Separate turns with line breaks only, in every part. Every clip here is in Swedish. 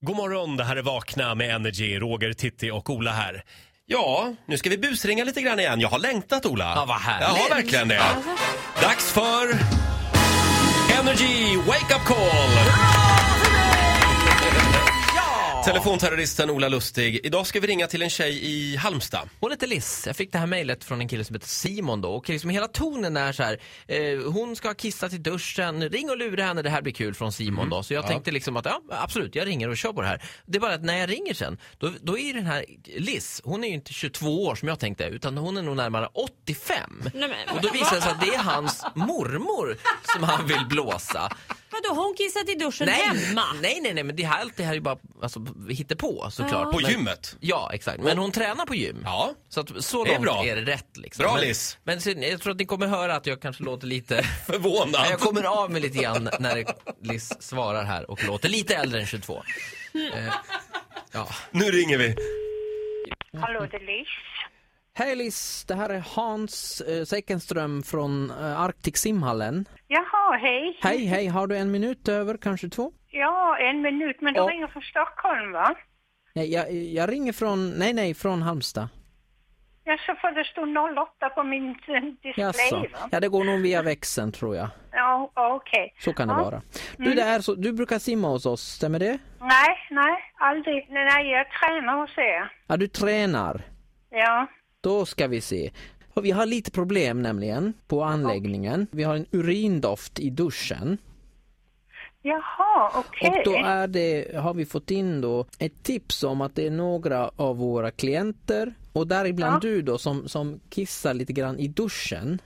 God morgon, det här är Vakna med Energy. Roger, Titti och Ola här. Ja, nu ska vi busringa lite grann igen. Jag har längtat, Ola.
Ja, vad härligt.
Jag har verkligen det. Dags för Energy Wake Up Call! Telefonterroristen Ola Lustig. Idag ska vi ringa till en tjej i Halmstad.
Hon heter Liss. Jag fick det här mejlet från en kille som heter Simon då. Och liksom hela tonen är så här. Eh, hon ska ha kissat i duschen. Ring och lura henne. Det här blir kul från Simon då. Så jag tänkte liksom att ja, absolut, jag ringer och kör på det här. Det är bara att när jag ringer sen, då, då är ju den här Liss, hon är ju inte 22 år som jag tänkte, utan hon är nog närmare 85.
Nej, men-
och då visar det sig att det är hans mormor som han vill blåsa.
Vadå, har hon kissat i duschen
Nej,
hemma?
nej, nej, nej, men det här, allt det här är ju bara alltså, hittepå såklart.
På
Men-
gymmet.
Ja, exakt. Men hon tränar på gym.
Ja.
Så, att, så
Det är
långt är,
bra.
det rätt. Liksom.
Bra,
men,
Liz.
Men sen, jag tror att ni kommer höra att jag kanske låter lite...
Förvånad.
jag kommer av mig lite grann när Liz svarar här och låter lite äldre än 22. Eh, ja.
Nu ringer vi.
Hallå,
Mm-hmm.
det är Liz.
Hej Liz, det här är Hans eh, Säckenström från eh, Arctic Simhallen.
Jaha, hej.
Hej, hej, har du en minut över, kanske två?
Ja, en minut, men du
Ja.
ringer från Stockholm, va?
Nej, jag, jag ringer från, nej nej, från Halmstad.
Ja, så får det stå 08 på min eh, display,
Jaså.
va?
Ja, det går nog via växeln tror jag.
Ja, okej.
Så kan det
Ja. Mm.
vara. Du, det är så, du brukar simma hos oss, stämmer det?
Nej, nej, aldrig. Nej, nej, jag tränar hos er.
Ja, du tränar.
Ja,
Då ska vi se. Och Vi har lite problem nämligen på anläggningen. Vi har en urindoft i duschen.
jaha, okej.
Och då är det, har vi fått in då ett tips om att det är några av våra klienter och däribland
Ja.
du då som, som kissar lite grann i duschen.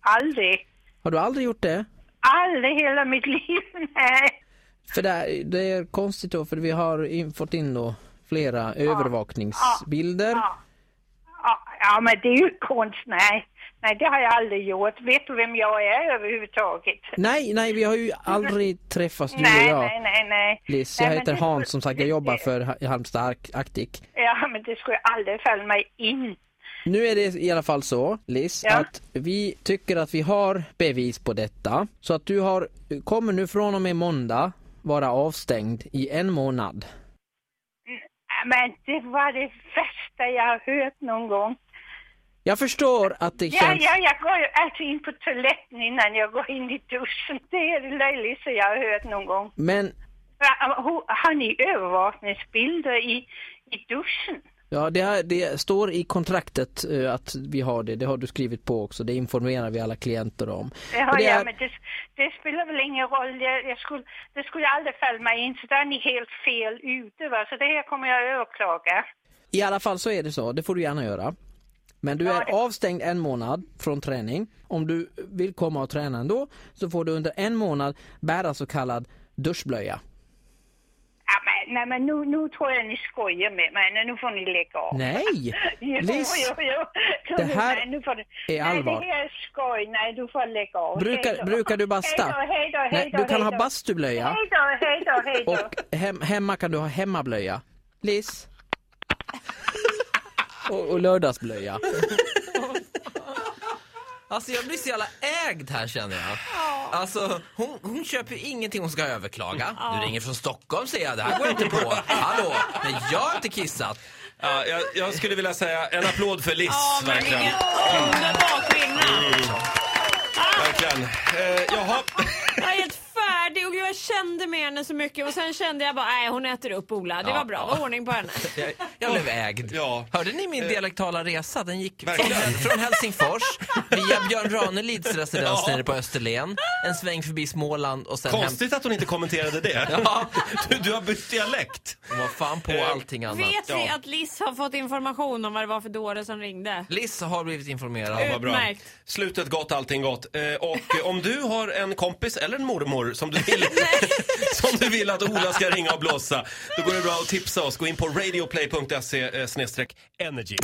Aldrig.
Har du aldrig gjort det?
Aldrig hela mitt liv, nej.
För det, är- det är konstigt då för vi har in, fått in då flera övervakningsbilder.
Ja. Ja, Ja, men det är ju konst, nej. Nej, det har jag aldrig gjort. Vet du vem jag är överhuvudtaget?
Nej, nej, vi har ju aldrig träffats du och
Mm. nej,
jag.
nej, nej, nej.
Liz,
Nej,
jag
men
heter
det-
Hans som sagt, jag
det-
jobbar för Ha- Halmstad Ark- Arctic.
Ja, men det skulle aldrig falla mig in.
Nu är det i alla fall så, Liz,
Ja.
att vi tycker att vi har bevis på detta. Så att du har, kommer nu från och med måndag vara avstängd i en månad.
Ja, Äh, Men det var det värsta jag har hört någon gång.
Jag förstår att det
Ja,
känns...
ja, jag går ju alltid in på toaletten innan jag går in i duschen. Det är det löjligaste jag har hört någon gång.
Men
Ja, ho- Har ni övervakningsbilder i, i duschen?
ja, det, här, det står i kontraktet eh, att vi har det. Det har du skrivit på också. Det informerar vi alla klienter om.
Ja,
Och det
ja,
är-
men det, det spelar väl ingen roll. Jag, jag skulle, det skulle aldrig falla mig in, så där är ni helt fel ute. Va? Så det här kommer jag överklaga.
I alla fall så är det så, det får du gärna göra. Men du är avstängd en månad från träning. Om du vill komma och träna ändå så får du under en månad bära så kallad duschblöja.
Ja, men, nej, men nu, nu tror jag ni skojar med mig. Nej, Nu får ni lägga av.
Nej!
Jo,
Liz,
jo, jo.
det här
Nej, nu får du...
är allvar.
Nej, det här är skoj. Nej, du får lägga av.
brukar,
Hej då.
brukar du basta?
Hej då, hej då, hej
Nej,
då,
du kan
hej
ha
då.
bastublöja
Hej då, hej då, hej då.
och hem, hemma kan du ha hemmablöja. Liz? Och, och lördagsblöja.
Alltså jag blir så jävla ägd här känner jag. Alltså hon, hon köper ju ingenting hon ska överklaga. Du ringer från Stockholm säger jag, det här går jag inte på. Hallå, men jag har inte kissat.
Ja, jag, jag skulle vilja säga en applåd för Liz.
Ja, men vilken
verkligen.
underbar kvinna!
verkligen. Eh, jaha.
Jag är helt färdig och jag kände med henne så mycket och sen kände jag bara, nej hon äter upp Ola. Det
Ja,
var bra,
ja.
var ordning på henne.
Jag, jag blev ägd.
Ja. Eh.
Hörde ni min dialektala resa? Den gick från,
Verkligen.
från Helsingfors via Björn Ranelids residens
Ja.
nere på Österlen, en sväng förbi Småland och sen hem.
Konstigt att hon inte kommenterade det.
Ja,
Du, du har bytt dialekt.
hon var fan på allting annat.
Vet vi
ja.
att Liss har fått information om vad det var för dåre som ringde?
Liss har blivit informerad.
Vad bra.
Utmärkt.
Slutet gott, allting gott. Eh, och eh, om du har en kompis eller en mormor som du vill, som du vill att Ola ska ringa och blåsa, då går det bra att tipsa oss. Gå in på radioplay.se eh, snedstreck energy.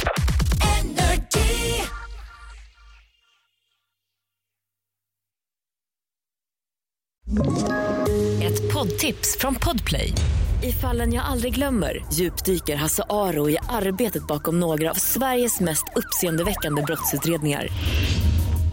Ett poddtips från Podplay. I fallen jag aldrig glömmer djupdyker Hasse Aro i arbetet bakom några av Sveriges mest uppseendeväckande brottsutredningar.